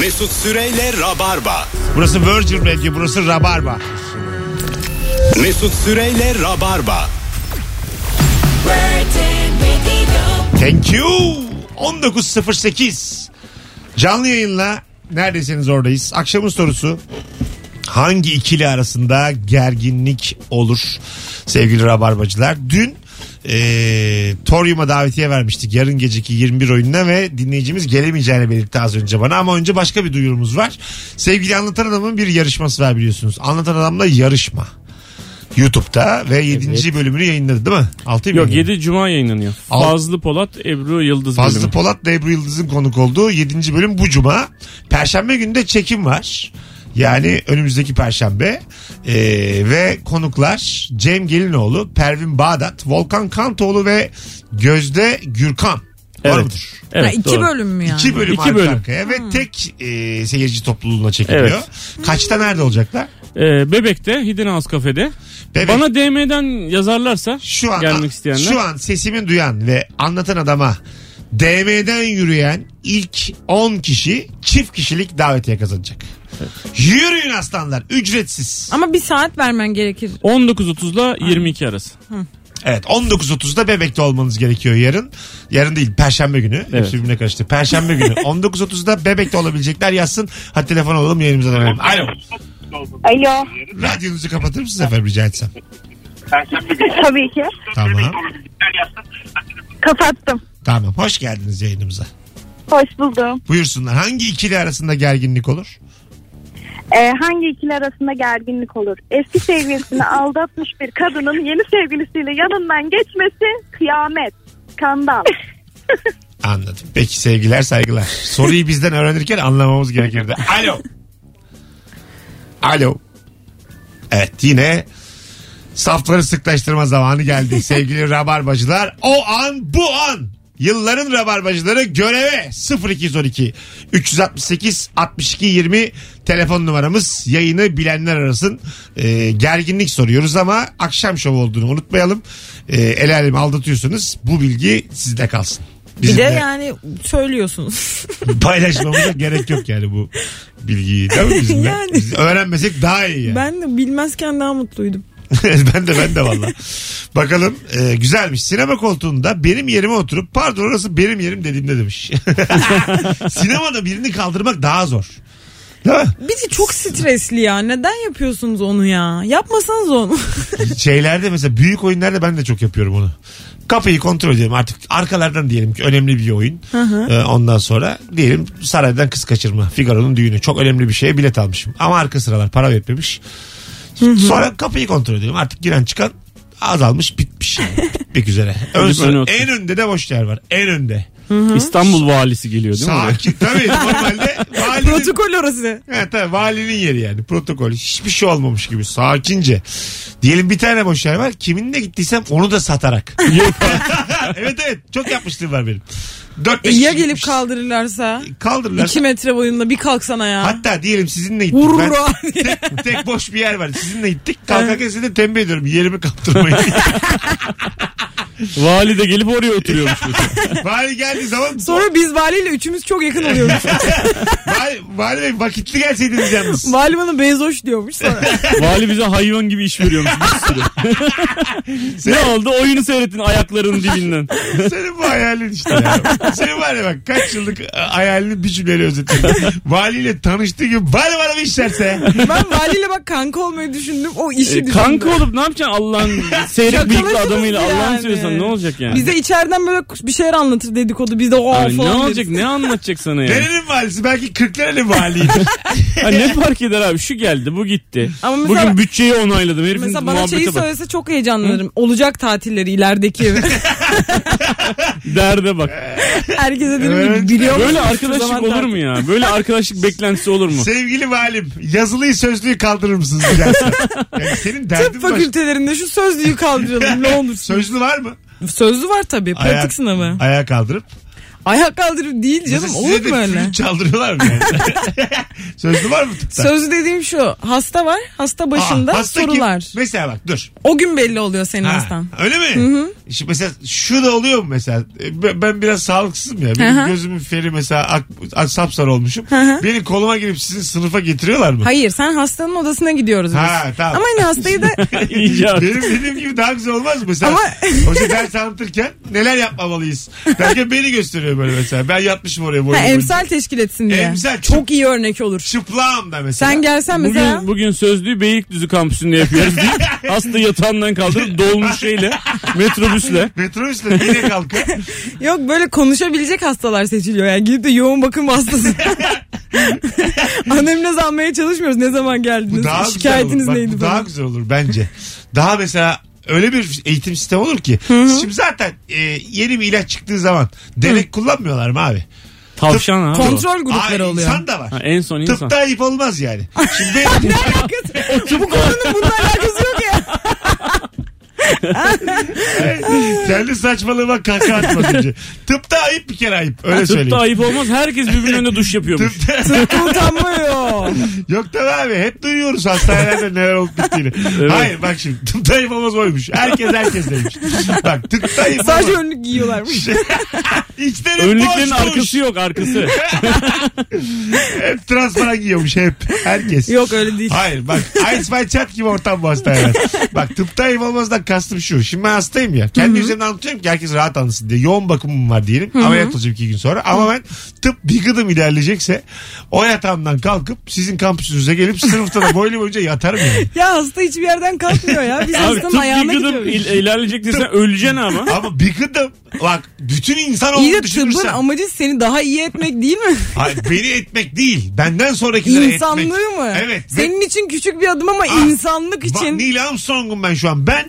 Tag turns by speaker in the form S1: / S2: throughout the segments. S1: Mesut Süreyle Rabarba.
S2: Burası Virgin Radio, burası Rabarba.
S1: Mesut Süreyle Rabarba.
S2: Thank you. 19.08. Canlı yayınla neredesiniz oradayız. Akşamın sorusu hangi ikili arasında gerginlik olur sevgili rabarbacılar? Dün eee Torium'a davetiye vermiştik yarın geceki 21 oyununa ve dinleyicimiz gelemeyeceğini belirtti az önce bana ama önce başka bir duyurumuz var. Sevgili Anlatan Adam'ın bir yarışması var biliyorsunuz. Anlatan Adam'la yarışma. YouTube'da ve 7. bölümünü yayınladı değil mi? 6
S3: Yok 7 Cuma yayınlanıyor.
S2: Al-
S3: Fazlı Polat, Ebru Yıldız
S2: Fazlı
S3: bölümü.
S2: Polat ve Ebru Yıldız'ın konuk olduğu 7. bölüm bu cuma. Perşembe günü de çekim var. Yani önümüzdeki perşembe Ee, ve konuklar Cem Gelinoğlu, Pervin Bağdat, Volkan Kantoğlu ve Gözde Gürkan. Var
S3: Evet.
S2: mıdır?
S3: Evet,
S4: Ha, iki
S3: doğru.
S4: bölüm mü yani?
S2: İki bölüm
S3: İki
S2: arka
S3: bölüm.
S2: arkaya ve tek e, seyirci topluluğuna çekiliyor. Kaçta nerede olacaklar?
S3: Ee, Bebek'te Hidden House Cafe'de.
S2: Bebek.
S3: Bana DM'den yazarlarsa
S2: şu an
S3: gelmek isteyenler.
S2: şu an sesimi duyan ve anlatan adama DM'den yürüyen ilk 10 kişi çift kişilik davetiye kazanacak. Yürüyün aslanlar ücretsiz.
S4: Ama bir saat vermen gerekir.
S3: 19.30 ile 22 arası.
S2: Evet 19.30'da bebekte olmanız gerekiyor yarın. Yarın değil perşembe günü.
S3: Evet.
S2: Hepsi birbirine karıştı. Perşembe günü 19.30'da bebekte olabilecekler yazsın. Hadi telefon alalım yayınımıza dönelim. Alo.
S5: Alo.
S2: Radyonuzu kapatır mısınız efendim rica etsem?
S5: Tabii ki.
S2: Tamam.
S5: Kapattım.
S2: Tamam. Hoş geldiniz yayınımıza.
S5: Hoş buldum.
S2: Buyursunlar. Hangi ikili arasında gerginlik olur?
S5: Ee, hangi ikili arasında gerginlik olur? Eski sevgilisini aldatmış bir kadının yeni sevgilisiyle yanından geçmesi kıyamet. Skandal.
S2: Anladım. Peki sevgiler saygılar. Soruyu bizden öğrenirken anlamamız gerekirdi. Alo. Alo. Evet yine safları sıklaştırma zamanı geldi sevgili rabarbacılar. O an bu an. Yılların rabarbacıları göreve 0212 368 62 20 telefon numaramız yayını bilenler arasın Ee, gerginlik soruyoruz ama akşam şovu olduğunu unutmayalım Ee, el alem aldatıyorsunuz bu bilgi sizde kalsın.
S4: Bir de
S2: Bizimle-
S4: yani söylüyorsunuz.
S2: paylaşmamıza gerek yok yani bu bilgiyi. Değil mi bizimle?
S4: Yani.
S2: Biz öğrenmesek daha iyi yani. Ben,
S4: ben de bilmezken daha mutluydum.
S2: de ben de valla. Bakalım e, güzelmiş. Sinema koltuğunda benim yerime oturup pardon orası benim yerim dediğimde demiş. Sinemada birini kaldırmak daha zor. Değil mi?
S4: Bir de çok stresli ya. Neden yapıyorsunuz onu ya? Yapmasanız onu.
S2: Şeylerde mesela büyük oyunlarda ben de çok yapıyorum onu. Kapıyı kontrol edelim artık arkalardan diyelim ki önemli bir oyun. Ee, ondan sonra diyelim saraydan kız kaçırma. Figaro'nun düğünü. Çok önemli bir şeye bilet almışım. Ama arka sıralar para vermemiş. Sonra kapıyı kontrol edelim. Artık giren çıkan azalmış bitmiş. yani. Bitmek üzere. Ön
S3: Gidip
S2: sıra-
S3: öne otur.
S2: en önde de boş yer var. En önde.
S3: İstanbul valisi geliyor değil mi? oraya?
S2: Sakin. Tabii normalde valinin
S4: Protokol orası.
S2: Evet tabii valinin yeri yani protokol. Hiçbir şey olmamış gibi sakince. Diyelim bir tane boş yer var. Kiminle gittiysem onu da satarak. evet evet çok yapmıştım var benim. Dört
S4: E,
S2: beş
S4: ya
S2: kişi
S4: gelip
S2: gitmiş.
S4: kaldırırlarsa?
S2: Kaldırırlar.
S4: 2 metre boyunla bir kalksana ya.
S2: Hatta diyelim sizinle gittik.
S4: Vurur
S2: Ben
S4: o an diye.
S2: tek, tek boş bir yer var. Sizinle gittik. Kalkarken sizi de tembih ediyorum. Yerimi kaptırmayın.
S3: Vali de gelip oraya oturuyormuş. mesela.
S2: Vali geldiği zaman
S4: Sonra biz valiyle üçümüz çok yakın oluyormuş.
S2: Vali, vali Bey vakitli gelseydiniz yalnız.
S4: Vali bana bezoş diyormuş sonra.
S3: Vali bize hayvan gibi iş veriyormuş bir sürü. ne oldu? Oyunu seyrettin ayaklarının dibinden.
S2: Senin bu hayalin işte ya. Senin var ya bak kaç yıllık e, hayalini bir cümleyle özetledim. Valiyle tanıştığı gün bana bana bir işlerse.
S4: Ben valiyle bak kanka olmayı düşündüm. O işi
S3: E,
S4: düşündüm.
S3: kanka olup ne yapacaksın Allah'ın seyrek bıyıklı
S4: Şakalasınız
S3: adamıyla
S4: yani.
S3: Allah'ını seviyorsan ne olacak yani?
S4: Bize içeriden böyle bir şeyler anlatır dedikodu. Biz de o
S3: Ay,
S4: falan
S3: ne
S4: deriz.
S3: olacak? Ne anlatacak sana ya?
S2: Nerenin valisi? Belki kırklarının valiydi.
S3: Ha, ne fark eder abi? Şu geldi, bu gitti.
S4: Ama mesela-
S3: Bugün bütçeyi onayladım. Herifin
S4: Mesela bana şeyi
S3: muhabbete bak.
S4: söylese çok heyecanlanırım. Olacak tatilleri ilerideki.
S3: Derde bak.
S4: Ee, Herkese derim
S2: Evet.
S4: ki biliyor musun?
S3: Böyle
S4: Şu
S3: arkadaşlık
S4: zaman
S3: olur
S4: tatil-
S3: mu ya? Böyle arkadaşlık beklentisi olur mu?
S2: Sevgili valim yazılıyı sözlüyü kaldırır mısınız rica etsem? Yani senin
S4: Tıp
S2: derdin var.
S4: fakültelerinde şu sözlüğü kaldıralım ne olur.
S2: Sözlü var mı?
S4: Sözlü var tabii pratik
S2: Ayağa-
S4: sınavı.
S2: Ayağa kaldırıp.
S4: Ayak kaldırıp değil canım
S2: Mesela
S4: olur
S2: size
S4: mu
S2: de
S4: öyle?
S2: flüt çaldırıyorlar mı yani? Sözlü var mı tıpta?
S4: Söz dediğim şu. Hasta var. Hasta
S2: Aa,
S4: başında
S2: hasta kim?
S4: sorular.
S2: Mesela bak dur.
S4: O gün belli oluyor senin
S2: Ha,
S4: hastan.
S2: öyle mi? Şimdi mesela şu da oluyor mu mesela? E, Ben, ben biraz sağlıksızım ya. Benim
S4: Hı hı.
S2: gözümün feri mesela ak, ak, sapsarı olmuşum. Beni koluma girip sizin sınıfa getiriyorlar mı?
S4: Hayır sen hastanın odasına gidiyoruz biz.
S2: Ha, tamam.
S4: Ama hani hastayı da
S3: İyice
S2: Benim dediğim gibi daha güzel olmaz mı? Mesela
S4: Ama-
S2: hoca ders anlatırken neler yapmamalıyız? Derken beni gösteriyor böyle mesela. Ben yatmışım oraya boyun
S4: ha,
S2: boyunca.
S4: emsal teşkil etsin diye.
S2: Emsal, çok-
S4: çok iyi örnek olur.
S2: Çıplağım da mesela.
S4: Sen gelsen mesela.
S3: Bugün, bugün sözlüğü Beylikdüzü kampüsünde yapıyoruz deyip hasta yatağından kaldırıp dolmuş şeyle metrobüsle.
S2: Metrobüsle bile kalka.
S4: Yok böyle konuşabilecek hastalar seçiliyor. Yani gidip de yoğun bakım hastası. Annemle zanmaya çalışmıyoruz. Ne zaman geldiniz?
S2: Daha güzel
S4: Şikayetiniz
S2: olur. Bak,
S4: neydi?
S2: bu daha
S4: falan.
S2: güzel olur bence. Daha mesela öyle bir eğitim sistemi olur ki. Şimdi zaten e, yeni bir ilaç çıktığı zaman denek kullanmıyorlar mı abi?
S3: Tavşan abi o.
S4: Kontrol grupları
S2: Aa,
S4: oluyor.
S2: İnsan da var.
S3: Ha, en son insan.
S2: Tıpta ayıp olmaz yani. Şimdi ben-
S4: Ne alakası? bu konunun bununla alakası yok ya.
S2: kendi saçmalığıma kaka atmaz önce. Tıpta ayıp bir kere ayıp. Öyle söyleyeyim.
S3: Tıpta ayıp olmaz. Herkes birbirinin önünde duş yapıyormuş.
S2: Tıpta-
S4: Sırtı utanmıyor.
S2: Yok tabii abi hep duyuyoruz hastanelerde neler olup bittiğini. Hayır bak şimdi tıpta ayıp olmaz oymuş. Herkes herkes demiş. bak tıpta ayıp olmaz.
S4: Sadece önlük giyiyorlarmış.
S2: İçleri
S3: Önlüklerin
S2: boşmuş.
S3: arkası yok arkası.
S2: Hep transparan giyiyormuş hep. Herkes.
S4: Yok öyle değil.
S2: Hayır bak Ice White Chat gibi ortam bu hastanede. bak tıpta ayıp olmazdan kastım şu. Şimdi ben hastayım ya. Kendi üzerimden anlatıyorum ki herkes rahat anlasın diye. Yoğun bakımım var diyelim. Ameliyat olacağım iki gün sonra. Ama ben tıp bir gıdım ilerleyecekse o yatağımdan kalkıp sizin kampüsünüze gelip sınıfta da boylu boyunca yatarım yani.
S4: Ya hasta hiçbir yerden kalkmıyor ya. Biz
S3: Abi
S4: hastanın
S3: tıp
S4: ayağına
S3: yıkadım
S4: gidiyoruz.
S3: il- ilerleyecek desen öleceksin ama.
S2: Ama bir gıdım bak bütün insan
S4: İyi de
S2: olduğunu
S4: tıbbın
S2: düşünürsen.
S4: amacı seni daha iyi etmek değil mi?
S2: Hayır, beni etmek değil. Benden sonrakilere etmek.
S4: İnsanlığı mı?
S2: Evet. Ve-
S4: Senin için küçük bir adım ama
S2: Ah,
S4: insanlık
S2: Va-
S4: için.
S2: Neil Armstrong'um ben şu an. Ben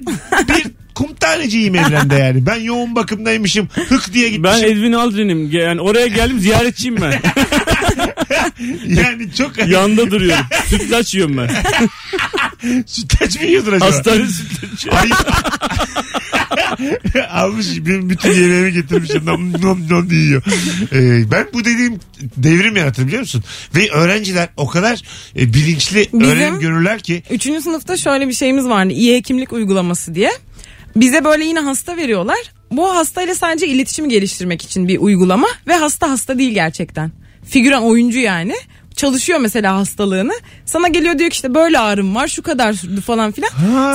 S2: bir kum taneciyim evrende yani. Ben yoğun bakımdaymışım. Hık diye
S3: Ben
S2: gitmişim.
S3: Edwin Aldrin'im. Yani oraya geldim ziyaretçiyim ben.
S2: yani çok
S3: Yanda duruyorum. Sütlaç yiyorum ben.
S2: sütlaç mı yiyordun acaba?
S3: Hastane sütlaç.
S2: Ay- Almış bir bütün yemeğimi getirmişim. Nom nom nom diye yiyor. Ee, ben bu dediğim devrim yaratır biliyor musun? Ve öğrenciler o kadar e, bilinçli
S4: Bizim-
S2: öğrenim görürler ki.
S4: Üçüncü sınıfta şöyle bir şeyimiz vardı. İyi hekimlik uygulaması diye. Bize böyle yine hasta veriyorlar. Bu hastayla sadece iletişim geliştirmek için bir uygulama. Ve hasta hasta değil gerçekten. Figüran oyuncu yani. Çalışıyor mesela hastalığını. Sana geliyor diyor ki işte böyle ağrım var şu kadar sürdü falan filan.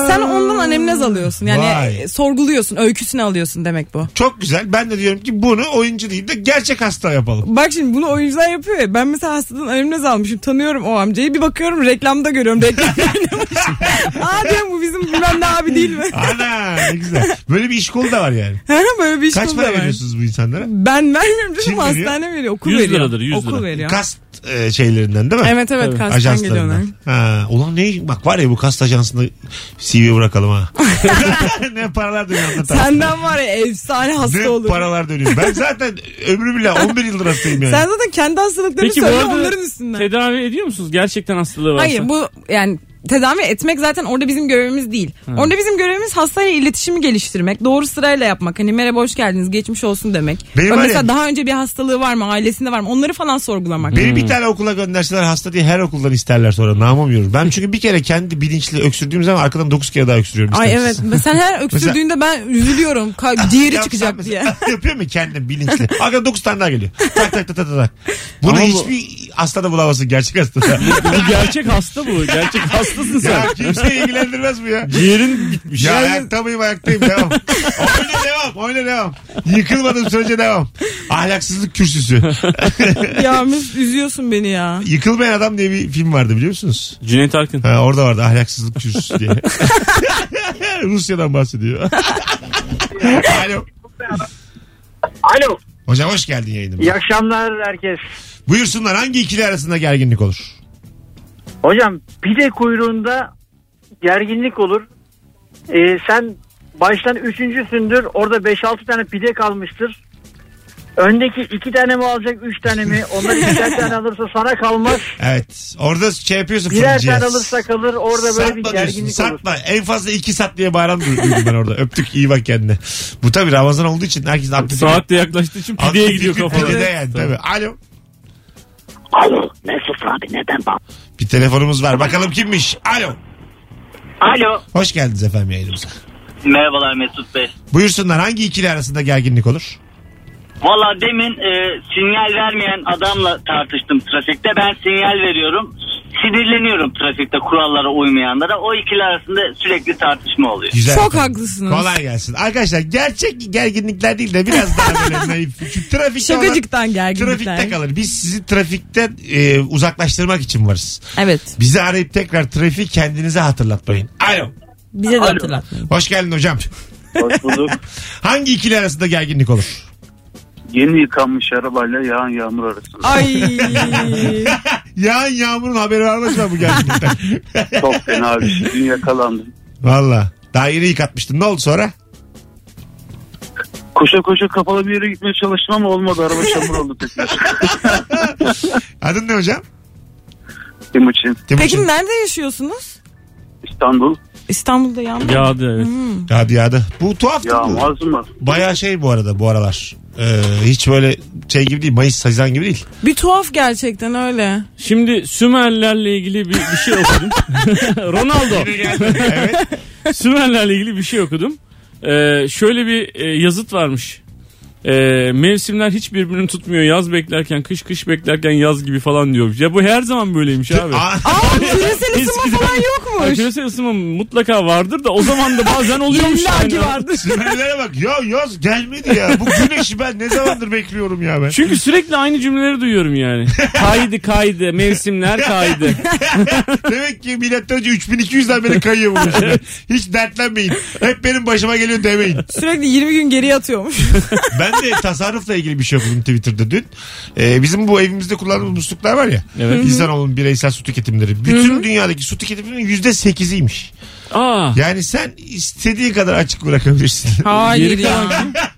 S4: Sen ondan anemnez alıyorsun. Yani e,
S2: Vay.
S4: sorguluyorsun öyküsünü alıyorsun demek bu.
S2: Çok güzel. Ben de diyorum ki bunu oyuncu değil de gerçek hasta yapalım.
S4: Bak şimdi bunu oyuncular yapıyor ya. Ben mesela hastadan anemnez almışım. Tanıyorum o amcayı. Bir bakıyorum reklamda görüyorum. Reklamda oynamış. Aa diyorum bu bizim bilmem ne abi değil mi?
S2: Ana ne güzel. Böyle bir iş kolu da var yani.
S4: Ha, Böyle bir iş
S2: Kaç
S4: kolu
S2: para
S4: da var.
S2: veriyorsunuz bu insanlara?
S4: Ben vermiyorum canım.
S2: Kim veriyor?
S4: hastane veriyor. Okul
S3: 100
S4: veriyor.
S3: liradır, 100
S4: Okul
S3: lira.
S4: veriyor.
S2: Kast e, şeylerinden değil mi?
S4: Evet evet
S3: Tabii.
S4: kastan
S2: Ajanslarından.
S4: geliyorlar.
S2: Ha, ulan ne bak var ya bu kast ajansında CV bırakalım ha. ne paralar dönüyor anlatan.
S4: Senden var ya efsane
S2: ne
S4: hasta olur.
S2: paralar dönüyor. Ben zaten ömrüm bile 11 yıldır hastayım yani.
S4: Sen zaten kendi hastalıklarını
S3: Peki bu
S4: söyle
S3: arada
S4: onların üstünden.
S3: tedavi ediyor musunuz? Gerçekten hastalığı varsa.
S4: Hayır bu yani tedavi etmek zaten orada bizim görevimiz değil. Orada bizim görevimiz hastayla iletişimi geliştirmek, doğru sırayla yapmak. Hani merhaba hoş geldiniz, geçmiş olsun demek.
S2: Benim
S4: Ö-
S2: var ya-
S4: mesela daha önce bir hastalığı var mı, ailesinde var mı onları falan sorgulamak.
S2: Beni
S3: Hmm.
S2: bir tane okula gönderseler hasta diye her okuldan isterler sonra namım yürür. Ben çünkü bir kere kendi bilinçli öksürdüğüm zaman arkadan 9 kere daha öksürüyorum.
S4: Ay
S2: istemsiz.
S4: evet sen her öksürdüğünde ben üzülüyorum. Ka- ciğeri
S2: Yapsam
S4: çıkacak
S2: mesela-
S4: diye.
S2: Yapıyor mu kendim bilinçli? Arkadan 9 tane daha geliyor. Tak tak tak tak tak. Bunu
S3: Ama bu-
S2: hiçbir hastada bulamazsın gerçek hastada.
S3: Bu gerçek hasta bu. Gerçek hastasın sen.
S2: ya kimseyi ilgilendirmez bu ya.
S3: Ciğerin bitmiş.
S2: Ya ayaktayım ayaktayım devam. oyna devam oyna devam. Yıkılmadım sürece devam. Ahlaksızlık kürsüsü.
S4: ya Mesut üzüyorsun beni ya.
S2: Yıkılmayan adam diye bir film vardı biliyor musunuz?
S3: Cüneyt Arkın.
S2: Ha, orada vardı ahlaksızlık kürsüsü diye. Rusya'dan bahsediyor. Alo.
S6: Alo.
S2: Hocam hoş geldin yayınıma.
S6: İyi akşamlar herkes.
S2: Buyursunlar hangi ikili arasında gerginlik olur?
S6: Hocam pide kuyruğunda gerginlik olur. Ee, sen baştan üçüncüsündür. Orada 5-6 tane pide kalmıştır. Öndeki iki tane mi alacak, üç tane mi? Onlar iki tane alırsa sana kalmaz.
S2: Evet. Orada şey yapıyorsun.
S6: Birer
S2: fırıncıya.
S6: tane alırsa kalır. Orada böyle bir
S2: Satma diyorsun,
S6: gerginlik olur.
S2: satma. En fazla iki sat diye bağıran duydum ben orada. Öptük iyi bak kendine. Bu tabii Ramazan olduğu için herkesin aklı
S3: Saat de yaklaştığı için
S2: Aklı
S3: pideye gidiyor
S2: fikri
S3: kafalar.
S2: Pideye yani
S3: Tabii.
S2: tabii. Alo.
S7: Alo Mesut abi neden bak?
S2: Bir telefonumuz var. Bakalım kimmiş? Alo.
S7: Alo.
S2: Hoş geldiniz efendim yayınımıza.
S7: Merhabalar Mesut Bey.
S2: Buyursunlar hangi ikili arasında gerginlik olur?
S7: Valla demin e, sinyal vermeyen adamla tartıştım trafikte. Ben sinyal veriyorum. Sinirleniyorum trafikte kurallara uymayanlara. O ikili arasında sürekli tartışma oluyor.
S2: Güzel.
S4: Çok
S2: efendim.
S4: haklısınız.
S2: Kolay gelsin. Arkadaşlar gerçek gerginlikler değil de biraz daha böyle naif. Çünkü trafikte olan-
S4: Şakacıktan
S2: Trafikte
S4: gerginlikler.
S2: kalır. Biz sizi trafikten e, uzaklaştırmak için varız.
S4: Evet.
S2: Bizi arayıp tekrar trafiği kendinize hatırlatmayın. Alo.
S4: Bize de hatırlatmayın.
S2: Hoş geldin hocam.
S8: Hoş bulduk.
S2: Hangi ikili arasında gerginlik olur?
S8: Yeni yıkanmış arabayla yağan yağmur arasında.
S4: Ay.
S2: Yağan yağmurun haberi varmış mı bu gerginlikten?
S8: Çok fena bir şey. Dün yakalandım.
S2: Valla. Daha yeni yıkatmıştın. Ne oldu sonra?
S8: Koşa koşa kapalı bir yere gitmeye çalıştım ama olmadı. Araba çamur oldu tekrar.
S2: Adın ne hocam?
S8: Timuçin
S4: Peki
S2: Timuçin.
S4: nerede yaşıyorsunuz?
S8: İstanbul
S4: İstanbul'da yağmur.
S3: Yağdı evet.
S2: Hadi hadi. Bu tuhaf değil mi?
S8: yağmaz mı?
S2: Baya şey bu arada bu aralar. Ee, hiç böyle şey gibi değil. Mayıs, Haziran gibi değil.
S4: Bir tuhaf gerçekten öyle.
S3: Şimdi Sümerlerle ilgili bir, bir şey okudum. Ronaldo.
S2: evet.
S3: Sümerlerle ilgili bir şey okudum. Ee, şöyle bir e, yazıt varmış. Ee, mevsimler hiç birbirini tutmuyor. Yaz beklerken kış, kış beklerken yaz gibi falan diyor. Ya bu her zaman böyleymiş abi.
S2: Aa,
S4: Aa küresel
S3: Eskiden-
S4: ısınma falan
S3: Ya
S4: yokmuş.
S3: Küresel ısınma mutlaka vardır da o zaman da bazen oluyormuş.
S4: İlla
S3: yani.
S4: ki vardır.
S2: Sümerlere bak. Ya yaz gelmedi ya. Bu güneşi ben ne zamandır bekliyorum ya ben.
S3: Çünkü sürekli aynı cümleleri duyuyorum yani. Kaydı kaydı, mevsimler kaydı.
S2: Demek ki milattan önce 3200'den beri kayıyor bu işler. Hiç dertlenmeyin. Hep benim başıma geliyor demeyin.
S4: Sürekli 20 gün geriye atıyormuş.
S2: Ben de tasarrufla ilgili bir şey okudum Twitter'da dün. Ee, bizim bu evimizde kullandığımız musluklar var ya.
S3: Evet.
S2: İnsanoğlunun bireysel su tüketimleri. Bütün dünyadaki su tüketiminin %8'iymiş.
S3: Aa.
S2: Yani sen istediğin kadar açık bırakabilirsin.
S4: Hayır
S3: Geri
S4: ya.
S3: kalan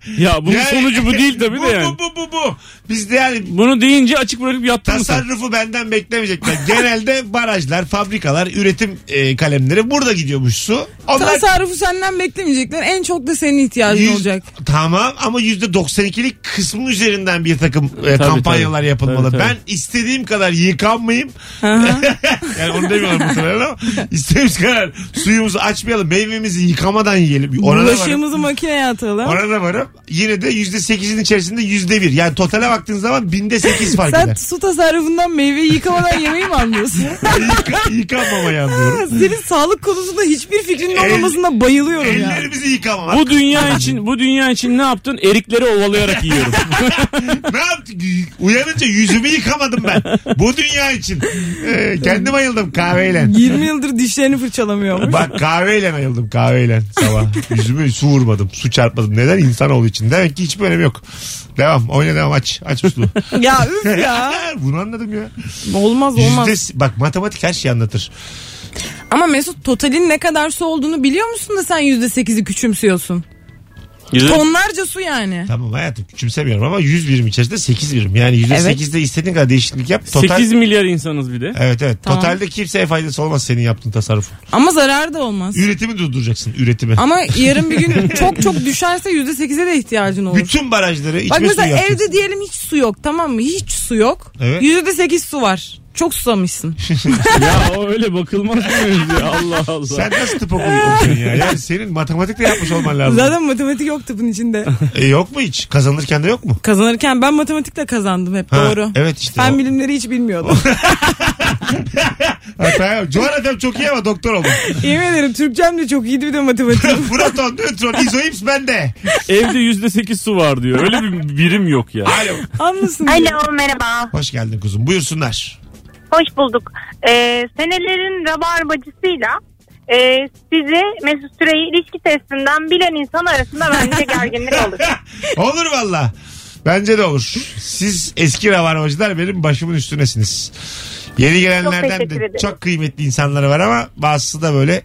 S3: kim? Ya bunun
S2: Yani-
S3: sonucu bu değil tabii
S2: bu,
S3: de yani.
S2: Bu bu bu bu. Biz de yani
S3: Bunu deyince açık bırakıp yattın mı sen?
S2: tasarrufu benden beklemeyecekler. Genelde barajlar, fabrikalar, üretim e, kalemleri burada gidiyormuş su. Onlar
S4: Tasarrufu senden beklemeyecekler. En çok da senin ihtiyacın
S2: Yüz-
S4: olacak.
S2: Tamam ama %92'lik kısmı üzerinden bir takım e,
S3: Tabii,
S2: kampanyalar
S3: tabii.
S2: yapılmalı.
S3: Tabii, tabii.
S2: Ben istediğim kadar yıkanmayayım.
S4: Aha.
S2: yani onu demiyorlar muhtemelen ama istediğimiz kadar suyumuzu açmayalım. Meyvemizi yıkamadan yiyelim. Ona da varım.
S4: Bulaşığımızı makineye atalım.
S2: Ona da varım. Yine de %8'in içerisinde %1. Yani totale baktığın zaman binde 8 fark
S4: Sen
S2: eder.
S4: su tasarrufundan meyveyi yıkamadan yemeyi mi anlıyorsun?
S2: Yıka, yıkanmamayı anlıyorum.
S4: Senin sağlık konusunda hiçbir fikrinin
S2: El-
S4: olmamasına bayılıyorum ya.
S2: Ellerimizi yıkamamak.
S3: Bu dünya için bu dünya için ne yaptın? Erikleri ovalayarak yiyorum.
S2: Ne yaptın? Uyanınca yüzümü yıkamadım ben. Bu dünya için. Ee, kendim ayıldım kahveyle.
S4: 20 yıldır dişlerini fırçalamıyormuş.
S2: Bak kahveyle ayıldım kahveyle sabah. Yüzümü su vurmadım. Su çarpmadım. Neden? İnsanoğlu için. Demek ki hiçbir önemi yok. Devam. Oyna devam. Aç. Aç musluğu.
S4: ya üf ya.
S2: Bunu anladım ya.
S4: Olmaz olmaz.
S2: Yüzde, bak matematik her şeyi anlatır.
S4: Ama Mesut totalin ne kadar su olduğunu biliyor musun da sen %8'i küçümsüyorsun. Tonlarca su yani.
S2: Tamam hayatım küçümsemiyorum ama 100 birim içerisinde 8 birim. Yani yüzde
S4: Evet.
S2: sekizde istediğin kadar değişiklik yap. Total,
S3: 8 milyar insanız bir de.
S2: Evet evet.
S4: Tamam.
S2: Totalde kimseye faydası olmaz senin yaptığın tasarrufun.
S4: Ama zarar da olmaz.
S2: Üretimi durduracaksın üretimi.
S4: Ama yarın bir gün çok çok düşerse %8'e de ihtiyacın olur.
S2: Bütün barajları içme
S4: Bak
S2: suyu
S4: mesela
S2: yapacaksın.
S4: evde diyelim hiç su yok tamam mı? Hiç su yok.
S2: Evet.
S4: %8 su var. Çok susamışsın.
S3: ya o öyle bakılmaz mı ya Allah Allah.
S2: Sen nasıl tıp okulu okuyorsun ya? Yani senin matematikle yapmış olman lazım.
S4: Zaten matematik yoktu bunun içinde.
S2: E, yok mu hiç? Kazanırken de yok mu?
S4: Kazanırken ben matematikle kazandım hep
S2: Ha,
S4: doğru.
S2: evet işte
S4: Fen
S2: o.
S4: bilimleri hiç bilmiyordum.
S2: Hatta coğrafyam çok iyi ama doktor oldum.
S4: Yemin ederim Türkçem de çok iyiydi bir de matematiğim.
S2: Proton, nötron, izoips bende.
S3: Evde yüzde sekiz su var diyor. Öyle bir birim yok ya.
S2: Alo.
S4: Anlasın. diye.
S5: Alo merhaba.
S2: Hoş geldin kuzum. Buyursunlar.
S5: Hoş bulduk. Ee, senelerin rabarbacısıyla e, sizi Mesut Süreyi ilişki testinden bilen insan arasında bence gerginlik olur.
S2: olur valla. Bence de olur. Siz eski ravarmacılar benim başımın üstünesiniz. Yeni gelenlerden
S5: teşekkür
S2: de
S5: ederim.
S2: çok kıymetli insanları var ama bazısı da böyle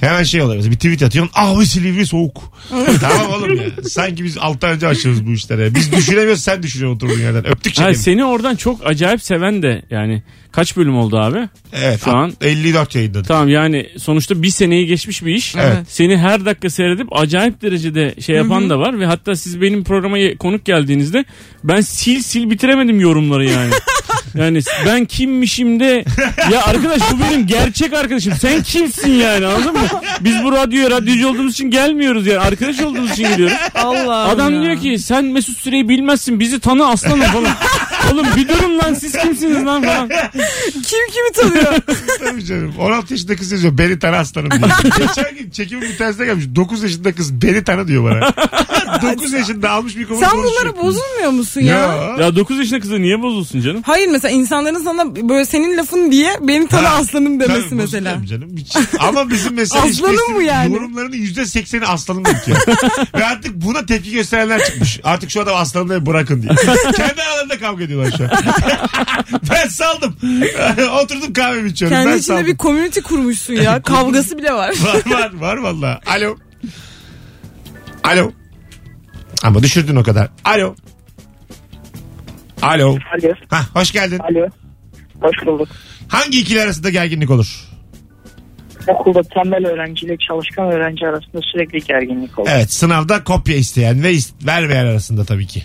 S2: hemen şey oluyor. Mesela Bir tweet atıyorsun. Ah bu silivri soğuk. tamam oğlum ya. Sanki biz 6 ay önce açıyoruz bu işlere. Biz düşünemiyoruz sen düşünüyorsun oturduğun yerden. Öptük
S3: Ha,
S2: şekerim.
S3: seni oradan çok acayip seven de yani kaç bölüm oldu abi?
S2: Evet.
S3: Şu an-
S2: 54 yayınladık.
S3: Tamam yani sonuçta bir seneyi geçmiş bir iş.
S2: Evet.
S3: Seni her dakika seyredip acayip derecede şey yapan da var ve hatta siz benim programa ye- konuk geldiğinizde ben sil sil bitiremedim yorumları yani. Yani ben kimmişim de ya arkadaş bu benim gerçek arkadaşım. Sen kimsin yani anladın mı? Biz bu radyoya radyocu olduğumuz için gelmiyoruz yani. Arkadaş olduğumuz için geliyoruz.
S4: Allah
S3: Adam diyor ki sen Mesut Süreyi bilmezsin bizi tanı aslanım falan. Oğlum bir durun lan siz kimsiniz lan falan.
S4: kim kimi tanıyor?
S2: Tabii canım. 16 yaşında kız yazıyor. Beni tanı aslanım diyor. Geçen gün çekimin bir tanesine gelmiş. 9 yaşında kız beni tanı diyor bana. 9 yaşında almış mikrofonu
S4: Sen
S2: konuşuyor.
S4: bunlara bozulmuyor musun ya?
S2: Ya.
S3: Ya 9 yaşında kıza niye bozulsun canım?
S4: Hayır mesela insanların sana böyle senin lafın diye beni tanı
S2: Ha,
S4: aslanım demesi
S2: Tabii,
S4: mesela.
S2: bozuluyorum Canım. Hiç- Ama bizim mesela
S4: Aslanım
S2: hiçbirisinin
S4: bu yani.
S2: yorumlarının %80'i aslanım dedik ya. Ve artık buna tepki gösterenler çıkmış. Artık şu adam aslanım demeyi bırakın diye. Kendi aralarında kavga ediyorlar şu an. ben saldım. Oturdum kahvemi içiyorum.
S4: Kendi
S2: ben
S4: içinde
S2: saldım.
S4: bir community kurmuşsun ya. Kavgası bile var.
S2: Var var var valla. Alo. Alo. Ama düşürdün o kadar. Alo. Alo.
S9: Alo.
S2: Hah, hoş geldin.
S9: Alo. Hoş bulduk.
S2: Hangi ikili arasında gerginlik olur?
S9: Okulda tembel öğrenciyle çalışkan öğrenci arasında sürekli gerginlik olur.
S2: Evet sınavda kopya isteyen ve is- vermeyen arasında tabii ki.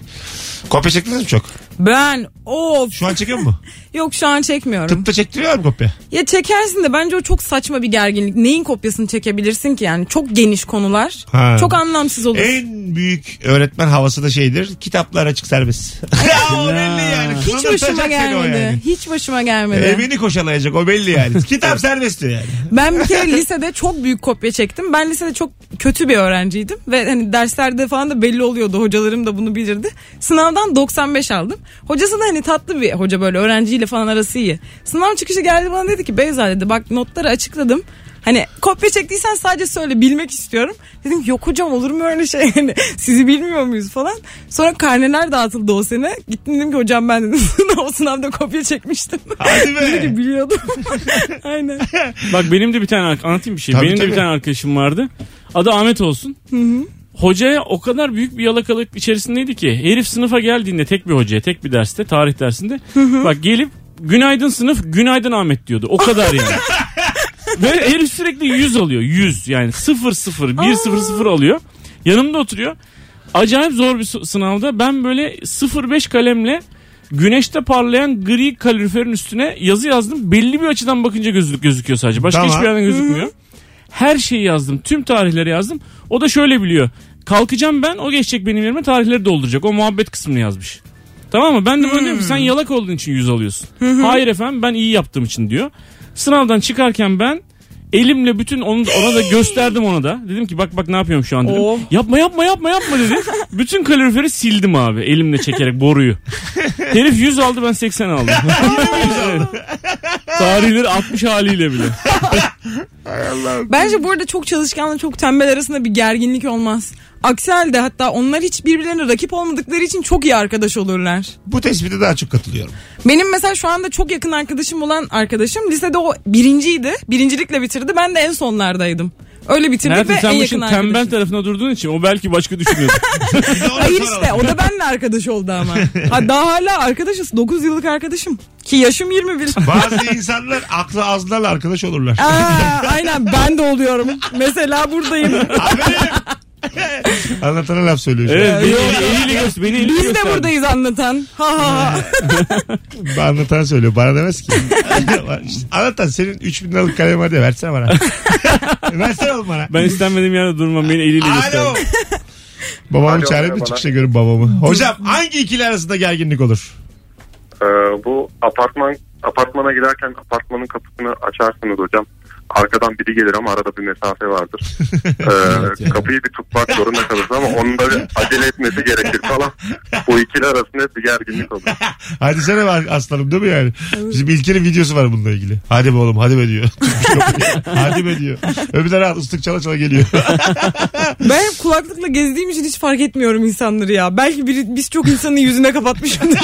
S2: Kopya çektiniz mi çok?
S4: Ben of.
S2: Şu an çekiyor mu?
S4: Yok şu an çekmiyorum.
S2: Tıpta çektiriyor mu kopya?
S4: Ya çekersin de bence o çok saçma bir gerginlik. Neyin kopyasını çekebilirsin ki yani? Çok geniş konular.
S2: Ha.
S4: Çok anlamsız olur.
S2: En büyük öğretmen havası da şeydir. Kitaplar açık serbest. ya o belli yani.
S4: Hiç
S2: Kıvırtacak
S4: başıma
S2: seni o
S4: gelmedi.
S2: yani. E,
S4: Hiç başıma gelmedi.
S2: Evini koşalayacak o belli yani. Kitap serbest diyor yani.
S4: Ben bir kere lisede çok büyük kopya çektim. Ben lisede çok kötü bir öğrenciydim ve hani derslerde falan da belli oluyordu. Hocalarım da bunu bilirdi. Sınavdan 95 aldım. Hocası da hani tatlı bir hoca böyle öğrenciyle falan arası iyi. Sınav çıkışı geldi bana dedi ki Beyza dedi bak notları açıkladım. Hani kopya çektiysen sadece söyle bilmek istiyorum. Dedim ki, yok hocam olur mu öyle şey hani sizi bilmiyor muyuz falan. Sonra karneler dağıtıldı o sene. Gittim dedim ki hocam ben dedim, o sınavda kopya çekmiştim.
S2: Hadi be.
S4: Dedi ki, biliyordum. Aynen.
S3: Bak benim de bir tane ar- anlatayım bir şey.
S2: Tabii,
S3: benim de
S2: tabii.
S3: bir tane arkadaşım vardı. Adı Ahmet olsun. Hocaya o kadar büyük bir yalakalık içerisindeydi ki herif sınıfa geldiğinde tek bir hocaya tek bir derste tarih dersinde bak gelip günaydın sınıf günaydın Ahmet diyordu. O kadar yani. Ve herif sürekli 100 alıyor. 100 yani 0 0 1 0 0 alıyor. Yanımda oturuyor. Acayip zor bir s- sınavda ben böyle 05 kalemle güneşte parlayan gri kaloriferin üstüne yazı yazdım. Belli bir açıdan bakınca gözlük gözüküyor sadece. Başka
S2: Tamam.
S3: hiçbir yerden gözükmüyor. Her şeyi yazdım. Tüm tarihleri yazdım. O da şöyle biliyor. Kalkacağım ben o geçecek benim yerime tarihleri dolduracak. O muhabbet kısmını yazmış. Tamam mı? Ben de böyle diyorum ki sen yalak olduğun için yüz alıyorsun. Hayır efendim ben iyi yaptığım için diyor. Sınavdan çıkarken ben elimle bütün onu ona da gösterdim ona da. Dedim ki bak bak ne yapıyorum şu an dedim.
S4: Oh.
S3: Yapma yapma yapma yapma dedi. bütün kaloriferi sildim abi elimle çekerek boruyu. Herif 100 aldı ben 80 aldım. Tarihleri 60 haliyle bile.
S4: Bence bu arada çok çalışkanla çok tembel arasında bir gerginlik olmaz. Aksi halde hatta onlar hiç birbirlerine rakip olmadıkları için çok iyi arkadaş olurlar.
S2: Bu tespite daha çok katılıyorum.
S4: Benim mesela şu anda çok yakın arkadaşım olan arkadaşım lisede o birinciydi. Birincilikle bitirdi. Ben de en sonlardaydım. Öyle bitirdik
S3: Nerede
S4: ve en
S3: sen
S4: yakın
S3: başın
S4: arkadaşım.
S3: tembel tarafına durduğun için o belki başka düşünüyordu.
S2: Bir de onu
S4: Hayır
S2: soralım.
S4: işte o da benimle arkadaş oldu ama. Ha, daha hala arkadaşız. 9 yıllık arkadaşım. Ki yaşım 21.
S2: Bazı insanlar aklı azlarla arkadaş olurlar.
S4: Aa, aynen ben de oluyorum. Mesela buradayım.
S2: Aferin. Anlatana laf söylüyor. şu an.
S3: evet, beni, eliyle göster, beni eliyle
S4: Biz de
S3: gösterdi.
S4: buradayız anlatan. Ha ha ha.
S2: Anlatan söylüyor. Bana demez ki. Anlatan senin 3000 liralık kalem var diye versene bana. versene oğlum bana.
S3: Ben istenmediğim yerde durmam beni eliyle
S2: Alo.
S3: gösterdi.
S2: Babamı
S10: Alo,
S2: çağırıp da
S10: merhabalar.
S2: çıkışa görüp babamı. Hocam hangi ikili arasında gerginlik olur?
S10: Ee, bu apartman apartmana girerken apartmanın kapısını açarsınız hocam. Arkadan biri gelir ama arada bir mesafe vardır. Ee, Kapıyı bir tutmak zorunda kalırsın ama onun da bir acele etmesi gerekir falan. Bu ikili arasında hep bir gerginlik olur.
S2: Hadi sana var aslanım değil mi yani? Bizim İlker'in videosu var bununla ilgili. Hadi be oğlum hadi be diyor. hadi be diyor. Öbürler rahat ıslık çala çala geliyor.
S4: Ben hep kulaklıkla gezdiğim için hiç fark etmiyorum insanları ya. Belki biri, biz çok insanın yüzüne kapatmışımdır.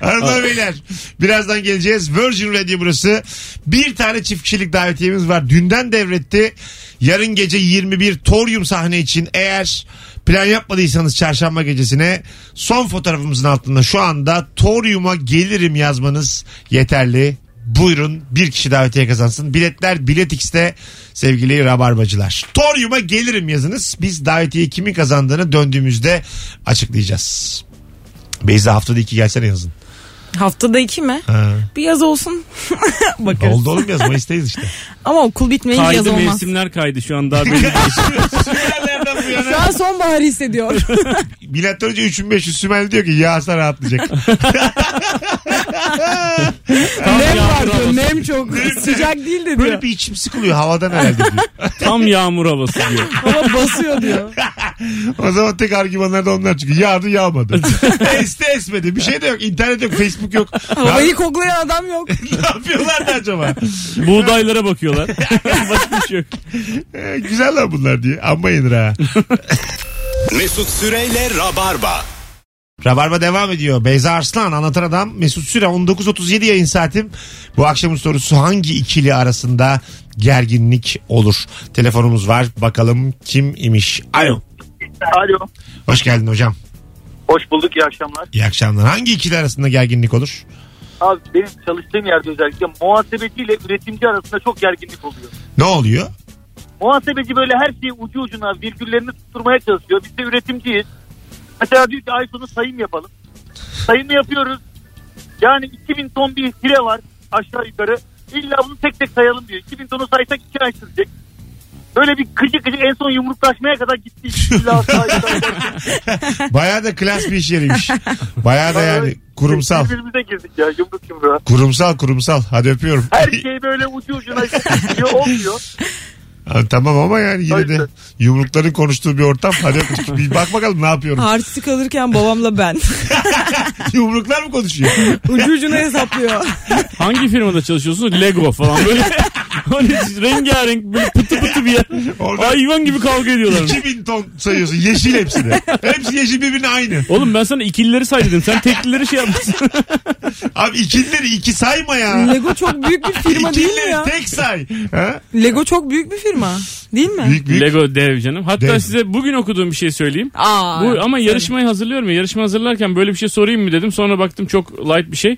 S2: Hanımlar beyler birazdan geleceğiz. Virgin Radio burası. Bir tane çift kişilik davetiyemiz var. Dünden devretti. Yarın gece 21 Torium sahne için eğer plan yapmadıysanız çarşamba gecesine son fotoğrafımızın altında şu anda Torium'a gelirim yazmanız yeterli. Buyurun bir kişi davetiye kazansın. Biletler Bilet X'te sevgili Rabarbacılar. Torium'a gelirim yazınız. Biz davetiye kimin kazandığını döndüğümüzde açıklayacağız. Beyza haftada iki gelsene yazın.
S4: Haftada iki mi?
S2: Ha.
S4: Bir yaz olsun. Bakarız.
S2: Oldu oğlum yaz Mayıs'tayız işte.
S4: Ama okul bitmeyince yaz
S3: Kaydı
S4: olmaz.
S3: mevsimler kaydı şu an daha belli değil.
S2: Sümerlerden bu
S4: Şu
S2: yana.
S4: an sonbahar hissediyor.
S2: Milattan önce 3500 Sümerli diyor ki yağsa rahatlayacak.
S3: Tam
S4: nem var
S3: yağmur
S4: diyor.
S3: havası.
S4: Nem çok. Sıcak değil de
S2: Böyle
S4: diyor.
S2: bir içim sıkılıyor havadan herhalde diyor.
S3: Tam yağmur havası diyor.
S4: Ama basıyor diyor.
S2: O zaman tek argümanlar da onlar çünkü yağdı yağmadı. Esti esmedi. Bir şey de yok. İnternet yok. Facebook yok.
S4: Havayı koklayan adam yok.
S2: ne yapıyorlar da acaba?
S3: Buğdaylara bakıyorlar. Başka bir şey yok.
S2: Ee, güzel lan bunlar diye. Amma yenir ha.
S1: Mesut Süreyle Rabarba.
S2: Rabarba devam ediyor. Beyza Arslan anlatan adam Mesut Süre 19.37 yayın saatim. Bu akşamın sorusu hangi ikili arasında gerginlik olur? Telefonumuz var. Bakalım kim imiş? Alo.
S8: Alo.
S2: Hoş geldin hocam.
S8: Hoş bulduk iyi akşamlar.
S2: İyi akşamlar. Hangi ikili arasında gerginlik olur?
S8: Abi benim çalıştığım yerde özellikle muhasebeciyle üretimci arasında çok gerginlik oluyor.
S2: Ne oluyor?
S8: Muhasebeci böyle her şeyi ucu ucuna virgüllerini tutturmaya çalışıyor. Biz de üretimciyiz. Mesela diyor ki ay sonu sayım yapalım. Sayımı yapıyoruz. Yani 2000 ton bir ihtire var aşağı yukarı. İlla bunu tek tek sayalım diyor. 2000 tonu saysak 2 ay sürecek. Böyle bir kıcı kıcı en son yumruklaşmaya kadar gitti. İlla sayacağız.
S2: Bayağı da klas bir iş yeriymiş. Bayağı da yani kurumsal.
S8: Birbirimize girdik ya yumruk yumruğa.
S2: Kurumsal kurumsal. Hadi öpüyorum.
S8: Her şey böyle ucu ucuna gidiyor olmuyor.
S2: Ha, tamam ama yani yine de
S8: Aynen.
S2: yumrukların konuştuğu bir ortam. Hadi öptük. Bir bak bakalım ne yapıyorum.
S4: Harçlık alırken babamla ben.
S2: Yumruklar mı konuşuyor?
S4: Ucu ucuna hesaplıyor.
S3: Hangi firmada çalışıyorsunuz? Lego falan böyle. Hani rengarenk böyle pıtı pıtı bir yer.
S2: Orada-
S3: Hayvan gibi kavga ediyorlar.
S2: 2000 ton sayıyorsun. Yeşil hepsini. Hepsi yeşil birbirine aynı.
S3: Oğlum ben sana ikilileri say dedim. Sen teklileri şey yapmışsın.
S2: Abi ikilileri iki sayma ya.
S4: Lego çok büyük bir firma değil mi ya?
S2: İkilileri tek say. Ha?
S4: Lego çok büyük bir firma. Değil mi?
S2: Büyük büyük.
S3: Lego dev canım. Hatta
S2: Dev.
S3: size bugün okuduğum bir şey söyleyeyim.
S4: Aa,
S3: Bu, ama yarışmayı hazırlıyorum ya. Yarışma hazırlarken böyle bir şey sorayım mı dedim. Sonra baktım çok light bir şey.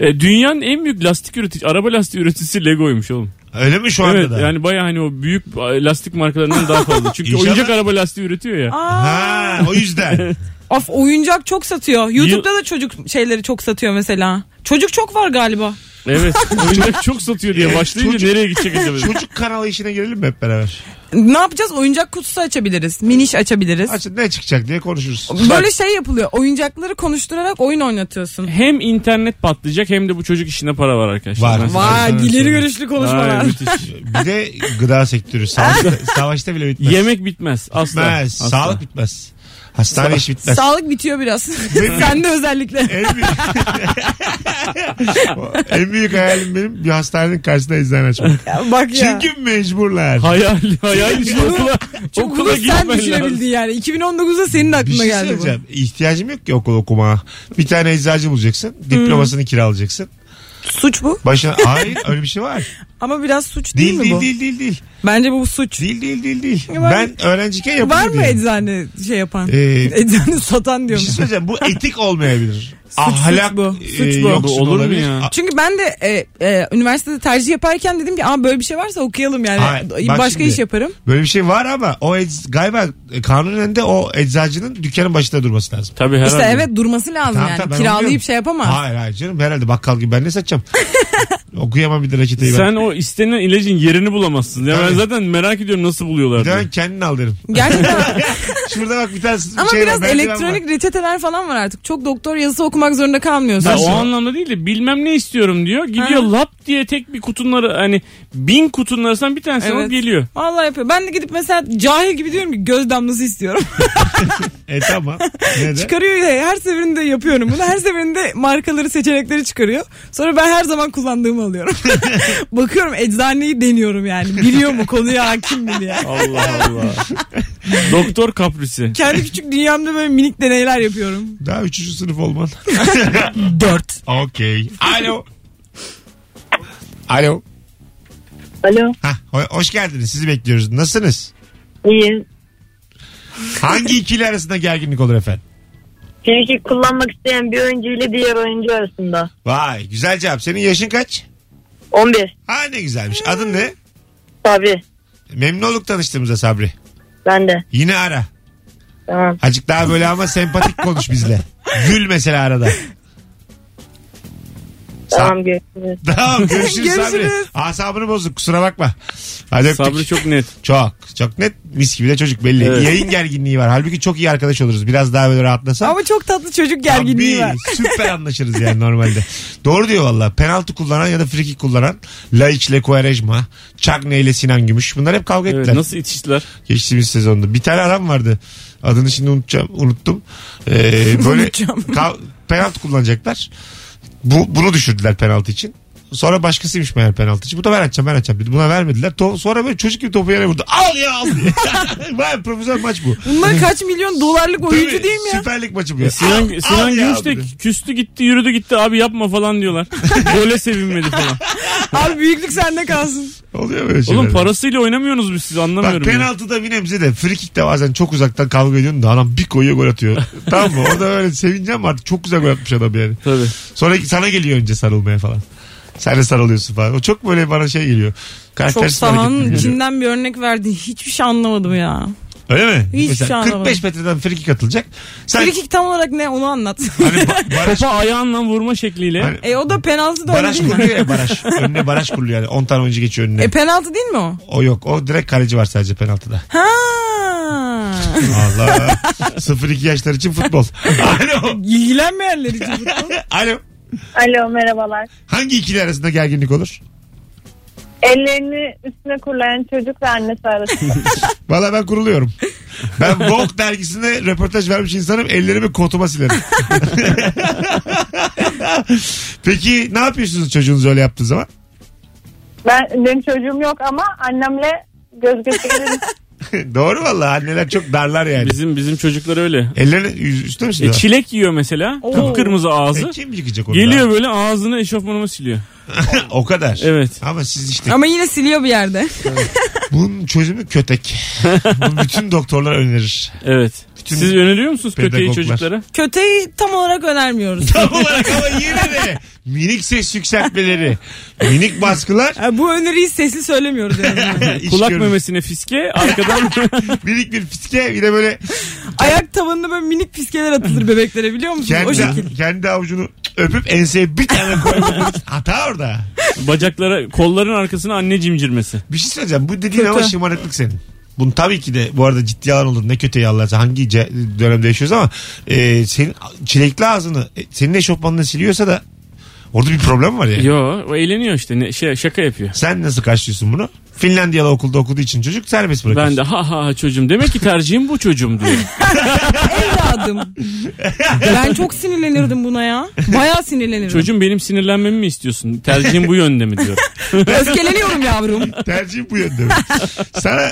S3: E, dünyanın en büyük lastik üretici, araba lastiği üreticisi Lego'ymuş oğlum.
S2: Öyle mi şu anda
S3: evet
S2: da?
S3: yani baya hani o büyük lastik markalarından daha fazla. Çünkü
S2: İnşallah.
S3: oyuncak araba lastiği üretiyor ya.
S2: Ha, o yüzden.
S4: Of oyuncak çok satıyor. YouTube'da da çocuk şeyleri çok satıyor mesela. Çocuk çok var galiba.
S3: Evet oyuncak çok satıyor diye E, başlayınca
S2: E, Çocuk-
S3: nereye gidecek acaba?
S2: Çocuk kanalı işine girelim mi hep beraber?
S4: Ne yapacağız? Oyuncak kutusu açabiliriz. Miniş açabiliriz.
S2: Açın ne çıkacak diye konuşuruz.
S4: Böyle şey yapılıyor. Oyuncakları konuşturarak oyun oynatıyorsun.
S3: Hem internet patlayacak hem de bu çocuk işinde para var arkadaşlar.
S2: Var.
S3: Ben-
S4: Vay
S2: Sana
S4: ileri
S2: söyleyeyim.
S4: görüşlü
S3: Ay,
S4: konuşmalar.
S3: müthiş.
S2: Bir de gıda sektörü. Savaşta, savaşta bile bitmez.
S3: Yemek bitmez asla.
S2: bitmez.
S3: asla.
S2: Sağlık bitmez. Hastane iş bitmez.
S4: Sağlık bitiyor biraz. Sen de özellikle.
S2: en büyük... en büyük hayalim benim bir hastanenin karşısında eczane açmak.
S4: Ya Bak ya.
S2: Çünkü mecburlar.
S3: Hayal, hayal işte
S4: Bunu-
S3: okula,
S4: Çok
S3: okula
S4: bunu sen
S3: gitmen lazım.
S4: düşünebildin yani. 2019'da senin
S2: Bir
S4: aklına
S2: şey
S4: geldi bu.
S2: söyleyeceğim. İhtiyacım yok ki okul okumaya. Bir tane eczacı bulacaksın.
S4: Hmm.
S2: Diplomasını kiralayacaksın.
S4: Suç bu.
S2: Başına... Hayır öyle bir şey var.
S4: Ama biraz suç değil,
S2: Değil
S4: mi
S2: değil,
S4: bu?
S2: değil değil değil.
S4: Bence bu suç.
S2: Değil değil değil değil.
S4: Var-
S2: Ben öğrenciyken yapıyordum.
S4: Var mı
S2: yani.
S4: eczane şey yapan?
S2: Ee,
S4: eczane satan
S2: Bir
S4: diyorum.
S2: şey söyleyeceğim. Bu etik olmayabilir.
S4: suç
S2: Ahlak
S4: bu, suç
S2: e,
S4: bu.
S2: yoksun
S3: Olur mu
S2: olabilir.
S3: ya?
S2: A-
S4: Çünkü ben de e, e, üniversitede tercih yaparken dedim ki Aa, böyle bir şey varsa okuyalım yani.
S2: Hayır, bak
S4: Başka
S2: şimdi.
S4: iş yaparım.
S2: Böyle bir şey var ama o ecz, galiba e, kanunen de o eczacının dükkanın başında durması lazım.
S3: Tabii herhalde.
S4: İşte evet durması lazım
S2: Tamam,
S4: yani.
S2: tamam, ben onu diyorum.
S4: Kiralayıp şey yapamaz.
S2: Hayır hayır canım herhalde bakkal gibi ben ne satacağım? Okuyamam bir de reçeteyi ben.
S3: Sen o istenen ilacın yerini bulamazsın. Ya ben
S2: Tabii.
S3: zaten merak ediyorum nasıl buluyorlar
S2: Bir de ben
S3: diye.
S2: kendin al derim.
S4: Gerçekten
S2: Şurada bak bir tane
S4: ama
S2: şey
S4: biraz
S2: var, merdiven
S4: elektronik
S2: var.
S4: reçeteler falan var artık. Çok doktor yazısı okumak zorunda
S3: Ha, o
S4: kalmıyorsun.
S3: anlamda değil de bilmem ne istiyorum diyor. Gidiyor
S4: Ha.
S3: lap diye tek bir kutunun ara- hani bin kutunun arasından bir tanesi alıp
S4: Evet.
S3: geliyor.
S4: Vallahi yapıyor. Ben de gidip mesela cahil gibi diyorum ki göz damlası istiyorum.
S2: E tamam. Neden?
S4: çıkarıyor ya her seferinde yapıyorum bunu. Her seferinde markaları seçenekleri çıkarıyor. Sonra ben her zaman kullandığımı alıyorum. Bakıyorum eczaneyi deniyorum yani. Biliyor mu konuya hakim mi diye.
S3: Allah Allah. Doktor kaprisi.
S4: Kendi küçük dünyamda böyle minik deneyler yapıyorum.
S2: Daha üçüncü sınıf olman.
S4: Dört.
S2: Okey. Alo. Alo.
S9: Alo
S2: Hah, ho- hoş geldiniz. Sizi bekliyoruz. Nasılsınız?
S9: iyi.
S2: Hangi ikili arasında gerginlik olur efendim?
S9: Frikik kullanmak isteyen bir oyuncu ile diğer oyuncu arasında.
S2: Vay güzel cevap. Senin yaşın kaç?
S9: 11.
S2: Ha ne güzelmiş. Adın ne?
S9: Tabii.
S2: Memnun olduk tanıştığımıza Sabri.
S9: Ben de.
S2: Yine ara.
S9: Tamam.
S2: Acık daha böyle ama sempatik konuş bizle. Gül mesela arada.
S9: Tamam görüşürüz.
S2: Tamam görüşürüz, Sabri.
S4: Görüşürüz.
S2: Asabını bozduk kusura bakma. Hadi öptük.
S3: Sabri çok net.
S2: Çok. Çok net mis gibi de çocuk belli.
S3: Evet.
S2: Yayın gerginliği var. Halbuki çok iyi arkadaş oluruz. Biraz daha böyle rahatlasa.
S4: Ama çok tatlı çocuk gerginliği
S2: Tabii,
S4: var.
S2: Süper anlaşırız yani normalde. Doğru diyor valla. Penaltı kullanan ya da frikik kullanan. Laiç ile Kuarejma. Çakne ile Sinan Gümüş. Bunlar hep kavga
S3: Evet,
S2: ettiler.
S3: nasıl itiştiler?
S2: Geçtiğimiz sezonda. Bir tane adam vardı. Adını şimdi unutacağım, unuttum. Ee, böyle
S4: Unutacağım.
S2: ka- penaltı kullanacaklar. Bu, bunu düşürdüler penaltı için. Sonra başkasıymış meğer penaltı için. Bu da ben atacağım ben atacağım. dedi. Buna vermediler. To- sonra böyle çocuk gibi topu yere vurdu. Al ya al diye. Vay profesyonel maç bu.
S4: Bunlar kaç milyon dolarlık oyuncu
S2: Tabii,
S4: değil mi ya?
S2: Süper Lig maçı bu ya.
S3: E, Sinan,
S2: Al,
S3: Sinan
S2: al ya
S3: Gümüş de
S2: dedi.
S3: küstü gitti yürüdü gitti abi yapma falan diyorlar. Gole sevinmedi falan.
S4: Abi büyüklük sende kalsın.
S2: Oluyor böyle şeyler.
S3: Oğlum parasıyla oynamıyorsunuz biz siz anlamıyorum.
S2: Bak
S3: ya.
S2: penaltıda bir nebze de frikik de bazen çok uzaktan kavga ediyorsun da adam bir koyuyor gol atıyor. tamam mı? Orada öyle sevineceğim artık çok güzel gol atmış adam yani.
S3: Tabii.
S2: Sonra sana geliyor önce sarılmaya falan. Sen de sarılıyorsun falan. O çok böyle bana şey geliyor.
S4: Çok
S2: Karaktersiz hareket gibi
S4: sahanın
S2: geliyor.
S4: içinden bir örnek verdin. Hiçbir şey anlamadım ya.
S2: Öyle mi?
S4: Hiç şu
S2: Mesela
S4: an
S2: 45 metreden frikik atılacak. Sen
S4: Frikik tam olarak ne onu anlat.
S2: hani ba- baraj,
S3: Topa ayağınla vurma şekliyle.
S2: Hani-
S4: e o da penaltı da öyle
S2: baraj
S4: değil
S2: kuruluyor
S4: mi?
S2: ya baraj. Önüne baraj kuruluyor yani. 10 tane oyuncu geçiyor önüne.
S4: E penaltı değil mi o?
S2: o yok. O direkt kaleci var sadece penaltıda.
S4: Ha.
S2: Allah. 0-2 yaşlar için futbol. Alo.
S4: İlgilenmeyenler için bu.
S2: Alo.
S5: Alo merhabalar.
S2: Hangi ikili arasında gerginlik olur?
S5: Ellerini üstüne kurlayan çocuk ve annesi arasında.
S2: Valla ben kuruluyorum. Ben Vogue dergisine röportaj vermiş insanım. Ellerimi kotuma silerim. Peki ne yapıyorsunuz çocuğunuz öyle yaptığı zaman?
S5: ben benim çocuğum yok ama annemle göz göze geliriz.
S2: Doğru valla anneler çok darlar yani.
S3: Bizim bizim çocuklar öyle.
S2: Ellerini yüz- üstüne mi
S3: E,
S2: siliyorlar?
S3: çilek yiyor mesela. Kıpkırmızı ağzı.
S2: E, kim yıkacak onu?
S3: Geliyor böyle ağzını eşofmanıma siliyor.
S2: daha? o kadar.
S3: Evet.
S2: Ama siz işte
S4: Ama yine siliyor bir yerde.
S2: bunun çözümü kötek. Bunu bütün doktorlar önerir.
S3: Evet.
S2: Bütün
S3: Siz öneriyor musunuz köpeği
S2: pedagoglar.
S3: çocuklara?
S4: Köteyi tam olarak önermiyoruz.
S2: Tam olarak ama yine de minik ses yükseltmeleri, minik baskılar.
S4: E, bu öneriyi sesli söylemiyoruz. Yani.
S2: iş
S3: Kulak
S2: görür.
S3: memesine fiske arkadan
S2: Minik bir fiske bir de böyle
S4: Ayak tavanına böyle minik piskeler atılır bebeklere biliyor musunuz? o şekilde.
S2: kendi, kendi avucunu öpüp enseye bir tane koymak. Hata orada.
S3: bacaklara kolların arkasına anne cimcirmesi.
S2: Bir şey söyleyeceğim. Bu dediğin ama
S4: Kötü.
S2: şımarıklık senin. Bunu tabii ki de bu arada ciddi yalan olur. Ne kötü yalanlarsa hangi ce- dönemde yaşıyoruz ama e, senin çilekli ağzını e, senin eşofmanını siliyorsa da orada bir problem var ya. Yani.
S3: Yo o eğleniyor işte ne, şey, şaka yapıyor.
S2: Sen nasıl karşılıyorsun bunu? Finlandiyalı okulda okuduğu için çocuk serbest bırakıyorsun.
S3: Ben de ha ha ha çocuğum demek ki tercihim bu çocuğum diyor.
S4: Evladım. ben çok sinirlenirdim buna ya. Bayağı sinirlenirdim.
S3: çocuğum benim sinirlenmemi mi istiyorsun? Tercihim bu yönde mi diyor.
S4: Öfkeleniyorum yavrum.
S2: Tercihim bu yönde. Sana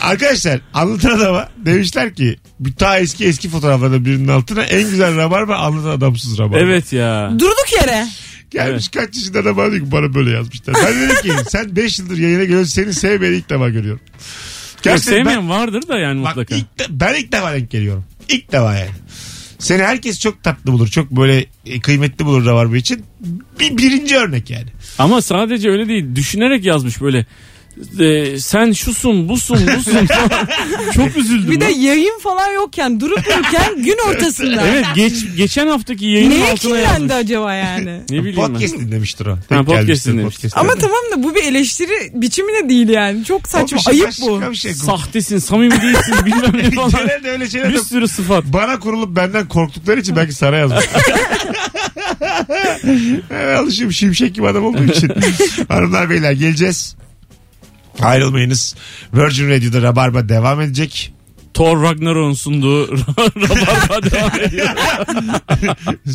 S2: arkadaşlar anlatan adama demişler ki bir ta eski eski fotoğraflarda birinin altına en güzel rabarba anlatan adamsız rabarba.
S3: Evet ya.
S4: Durduk yere.
S2: Gelmiş kaç yaşında adam abi diyor ki bana böyle yazmışlar. Ben dedim ki sen 5 yıldır yayına geliyorsun seni sevmeyeni ilk defa görüyorum.
S3: Yok
S2: Gerçekten
S3: sevmeyen vardır da yani
S2: ben, bak,
S3: mutlaka.
S2: ilk de- ben ilk defa denk geliyorum. İlk defa yani. Seni herkes çok tatlı bulur. Çok böyle e, kıymetli bulur rabarba için. Bir birinci örnek yani.
S3: Ama sadece öyle değil. Düşünerek yazmış böyle. E, sen şusun busun busun falan. Çok üzüldüm.
S4: Bir de
S3: lan.
S4: yayın falan yokken durup dururken gün ortasında.
S3: Evet geç, geçen haftaki yayının
S4: Neye
S3: altına yazmış.
S4: kirlendi acaba yani?
S3: Ne bileyim
S2: podcast
S3: ben.
S2: dinlemiştir o.
S3: Ha, podcast
S2: gelmiştir
S3: dinlemiştir.
S2: podcast'e.
S4: Ama tamam da bu bir eleştiri biçimi de değil yani. Çok
S2: O bir
S4: saçma.
S2: şey,
S4: Ayıp
S2: başka
S4: bu.
S2: bir şey.
S3: Sahtesin samimi değilsin bilmem ne falan.
S2: Genelde öyle şeyler
S3: Bir
S2: yok.
S3: sürü sıfat.
S2: Bana kurulup benden korktukları için belki sana yazmış. ben alışıyorum şimşek gibi adam olduğu için. Hanımlar beyler geleceğiz. Ayrılmayınız. Virgin Radio'da Rabarba devam edecek.
S3: Thor Ragnarok'un sunduğu Rabarba devam ediyor.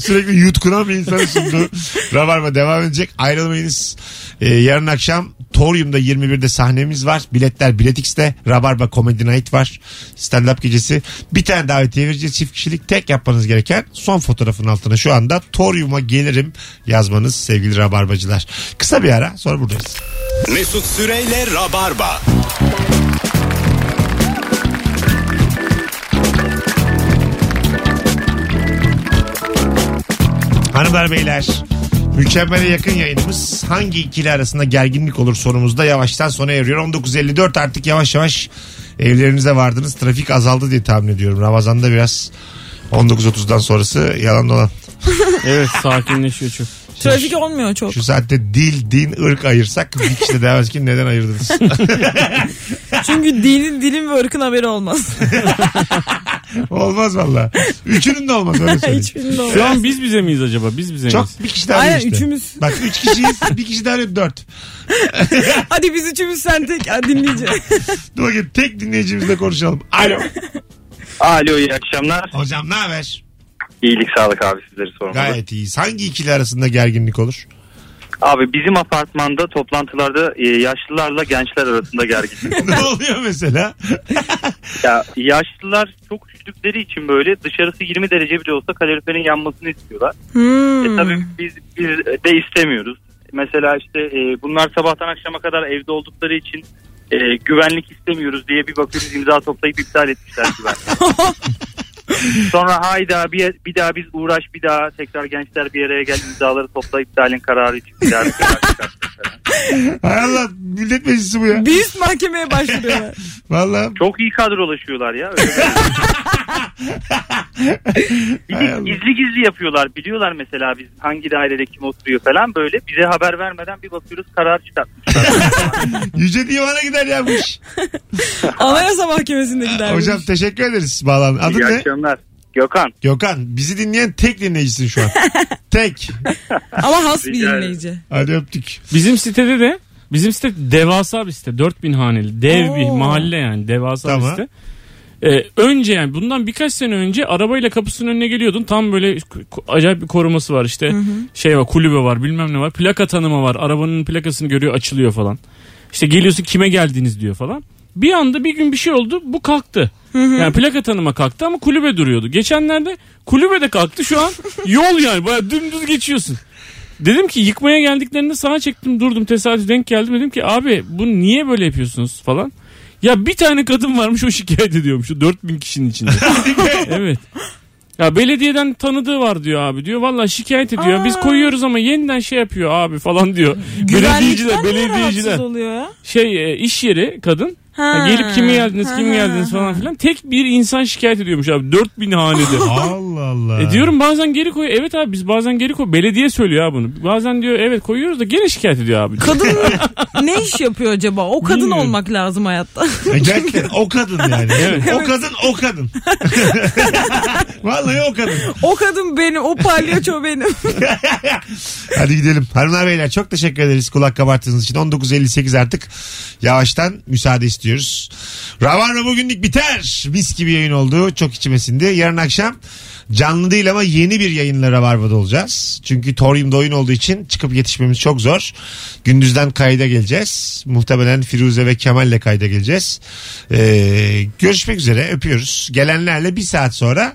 S2: Sürekli yutkunan bir insanı sundu. Rabarba devam edecek. Ayrılmayınız. Ee, yarın akşam Torium'da 21'de sahnemiz var. Biletler Bilet X'te. Rabarba Comedy Night var. Stand-up gecesi. Bir tane davetiye vereceğiz. Çift kişilik tek yapmanız gereken son fotoğrafın altına şu anda Torium'a gelirim yazmanız sevgili Rabarbacılar. Kısa bir ara sonra buradayız.
S1: Mesut Süreyle Rabarba.
S2: Hanımlar beyler mükemmele yakın yayınımız hangi ikili arasında gerginlik olur sorumuzda yavaştan sona eriyor. 19.54 artık yavaş yavaş evlerinize vardınız. Trafik azaldı diye tahmin ediyorum. Ramazan'da biraz 19.30'dan sonrası yalan dolan.
S3: Evet sakinleşiyor çok.
S4: Trafik olmuyor çok.
S2: Şu saatte dil, din, ırk ayırsak bir kişi de demez ki neden ayırdınız?
S4: Çünkü dinin dilin ve ırkın haberi olmaz.
S2: olmaz valla. Üçünün de olmaz öyle söyleyeyim.
S4: Hiçbirinin olmaz.
S3: Şu an biz bize miyiz acaba? Biz bize
S2: Çok
S3: miyiz?
S2: bir kişi daha arıyor
S4: Aynen,
S2: işte.
S4: üçümüz.
S2: Bak üç kişiyiz bir kişi daha arıyor dört.
S4: Hadi biz üçümüz sen tek ha, dinleyici.
S11: E,
S2: Dur bakayım tek dinleyicimizle konuşalım. Alo.
S11: Alo iyi akşamlar.
S2: Hocam ne haber?
S11: İyilik sağlık abi sizleri sormalı.
S2: Gayet iyiyiz. Hangi ikili arasında gerginlik olur?
S11: Abi bizim apartmanda toplantılarda e, yaşlılarla gençler arasında gerginlik.
S2: ne oluyor mesela?
S11: ya, yaşlılar çok üşüdükleri için böyle dışarısı 20 derece bile olsa kaloriferin yanmasını istiyorlar.
S4: Hmm.
S11: E tabii biz, biz de istemiyoruz. Mesela işte e, bunlar sabahtan akşama kadar evde oldukları için e, güvenlik istemiyoruz diye bir bakıyoruz imza toplayıp iptal etmişler güvenlik. Sonra hayda bir, bir daha biz uğraş bir daha tekrar gençler bir araya gel imzaları topla iptalin kararı için bir daha bir karar çıkar.
S2: Hay Allah millet meclisi bu ya.
S4: Hmm. Bir üst mahkemeye başvuruyorlar.
S2: Valla
S11: Çok iyi kadrolaşıyorlar ya. Öyle bir
S2: Hay
S11: de
S2: Allah.
S11: gizli gizli yapıyorlar. Biliyorlar mesela biz hangi dairede kim oturuyor falan böyle. Bize haber vermeden bir bakıyoruz karar çıkartmışlar.
S2: yüce divana gider ya bu iş.
S4: Anayasa mahkemesinde gider.
S2: Hocam teşekkür ederiz bağlan. Adın
S11: iyi
S2: ne?
S11: akşamlar. Gökhan.
S2: Gökhan. Bizi dinleyen tek dinleyicisin şu an. tek.
S4: Ama has bir
S11: Rica ederim.
S4: dinleyici.
S2: Hadi öptük.
S3: Bizim sitede de bizim site devasa bir site. 4000 haneli. Dev bir
S4: Oo.
S3: mahalle yani. Devasa
S2: Tamam.
S3: bir site. Ee, önce yani bundan birkaç sene önce arabayla kapısının önüne geliyordun. Tam böyle ku- ku- acayip bir koruması var işte. Şey var kulübe var bilmem ne var. Plaka tanıma var. Arabanın plakasını görüyor açılıyor falan. İşte geliyorsun kime geldiniz diyor falan. Bir anda bir gün bir şey oldu bu kalktı. Yani plaka tanıma kalktı ama kulübe duruyordu. Geçenlerde kulübe de kalktı şu an yol yani baya dümdüz geçiyorsun. Dedim ki yıkmaya geldiklerinde sağa çektim durdum tesadüf denk geldim dedim ki abi bu niye böyle yapıyorsunuz falan. Ya bir tane kadın varmış o şikayet ediyormuş o 4000 kişinin içinde. evet. Ya belediyeden tanıdığı var diyor abi diyor. Valla şikayet ediyor. Biz koyuyoruz ama yeniden şey yapıyor abi falan diyor. Belediyeciler,
S4: Güvenlikten niye
S3: belediyeciler
S4: rahatsız oluyor ya?
S3: şey e, iş yeri kadın.
S4: Ha.
S3: Ha, gelip kime geldiniz,
S4: Ha,
S3: kime
S4: ha,
S3: geldiniz falan filan. Tek bir insan şikayet ediyormuş abi. 4000 hanede.
S2: Allah Allah.
S3: E diyorum bazen geri koyuyor. Evet abi biz bazen geri koy. Belediye söylüyor abi bunu. Bazen diyor evet koyuyoruz da gene şikayet ediyor abi.
S4: Kadın ne iş yapıyor acaba? O kadın
S3: Bilmiyorum.
S4: olmak lazım hayatta.
S2: E gerçekten o kadın yani. O kadın o kadın. Vallahi o kadın.
S4: O kadın benim, o palyaço benim.
S2: Hadi gidelim. Hanımlar beyler çok teşekkür ederiz kulak kabarttığınız için. 19.58 artık yavaştan müsaade istiyoruz. Rabarba bugünlük biter. Mis gibi yayın oldu. Çok içime sindi. Yarın akşam canlı değil ama yeni bir yayınla Rabarba'da olacağız. Çünkü Torium'da oyun olduğu için çıkıp yetişmemiz çok zor. Gündüzden kayda geleceğiz. Muhtemelen Firuze ve Kemal'le kayda geleceğiz. Ee, görüşmek üzere. Öpüyoruz. Gelenlerle bir saat sonra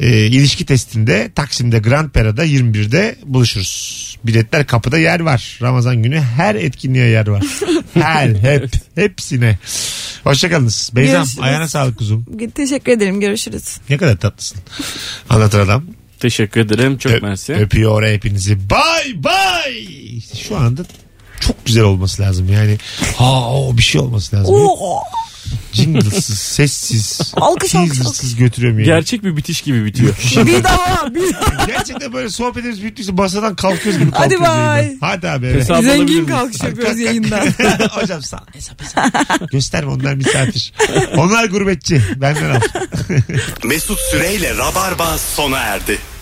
S2: e, ilişki testinde Taksim'de Grand Pera'da 21'de buluşuruz. Biletler kapıda yer var. Ramazan günü her etkinliğe yer var. her, hep, hepsine. Hoşçakalınız. Beyzam
S4: Görüşürüz.
S2: ayağına sağlık kuzum.
S4: Teşekkür ederim. Görüşürüz.
S2: Ne kadar tatlısın. Anlatır adam.
S3: Teşekkür ederim. Çok
S2: Öp-
S3: mersi.
S2: Öpüyor hepinizi. Bay bay. Şu anda çok güzel olması lazım yani. Ha o bir şey olması lazım.
S4: Oo,
S2: Jingle'sız, sessiz,
S4: Alkış, alkış,
S2: teaser'sız götürüyorum yani.
S3: Gerçek bir bitiş gibi bitiyor.
S4: bir daha, bir daha.
S2: Gerçekten böyle sohbetimiz bittiyse masadan kalkıyoruz gibi
S4: Hadi
S2: kalkıyoruz.
S4: bay.
S2: yayından. Hadi abi. eve.
S3: Hesap alabilir
S4: Zengin
S3: miyiz?
S4: kalkış yapıyoruz yayında.
S2: Hocam sağ ol. Hesap hesap. Gösterme onlar misafir. Onlar gurbetçi. Benden al.
S1: Mesut Süreyle Rabarba sona erdi.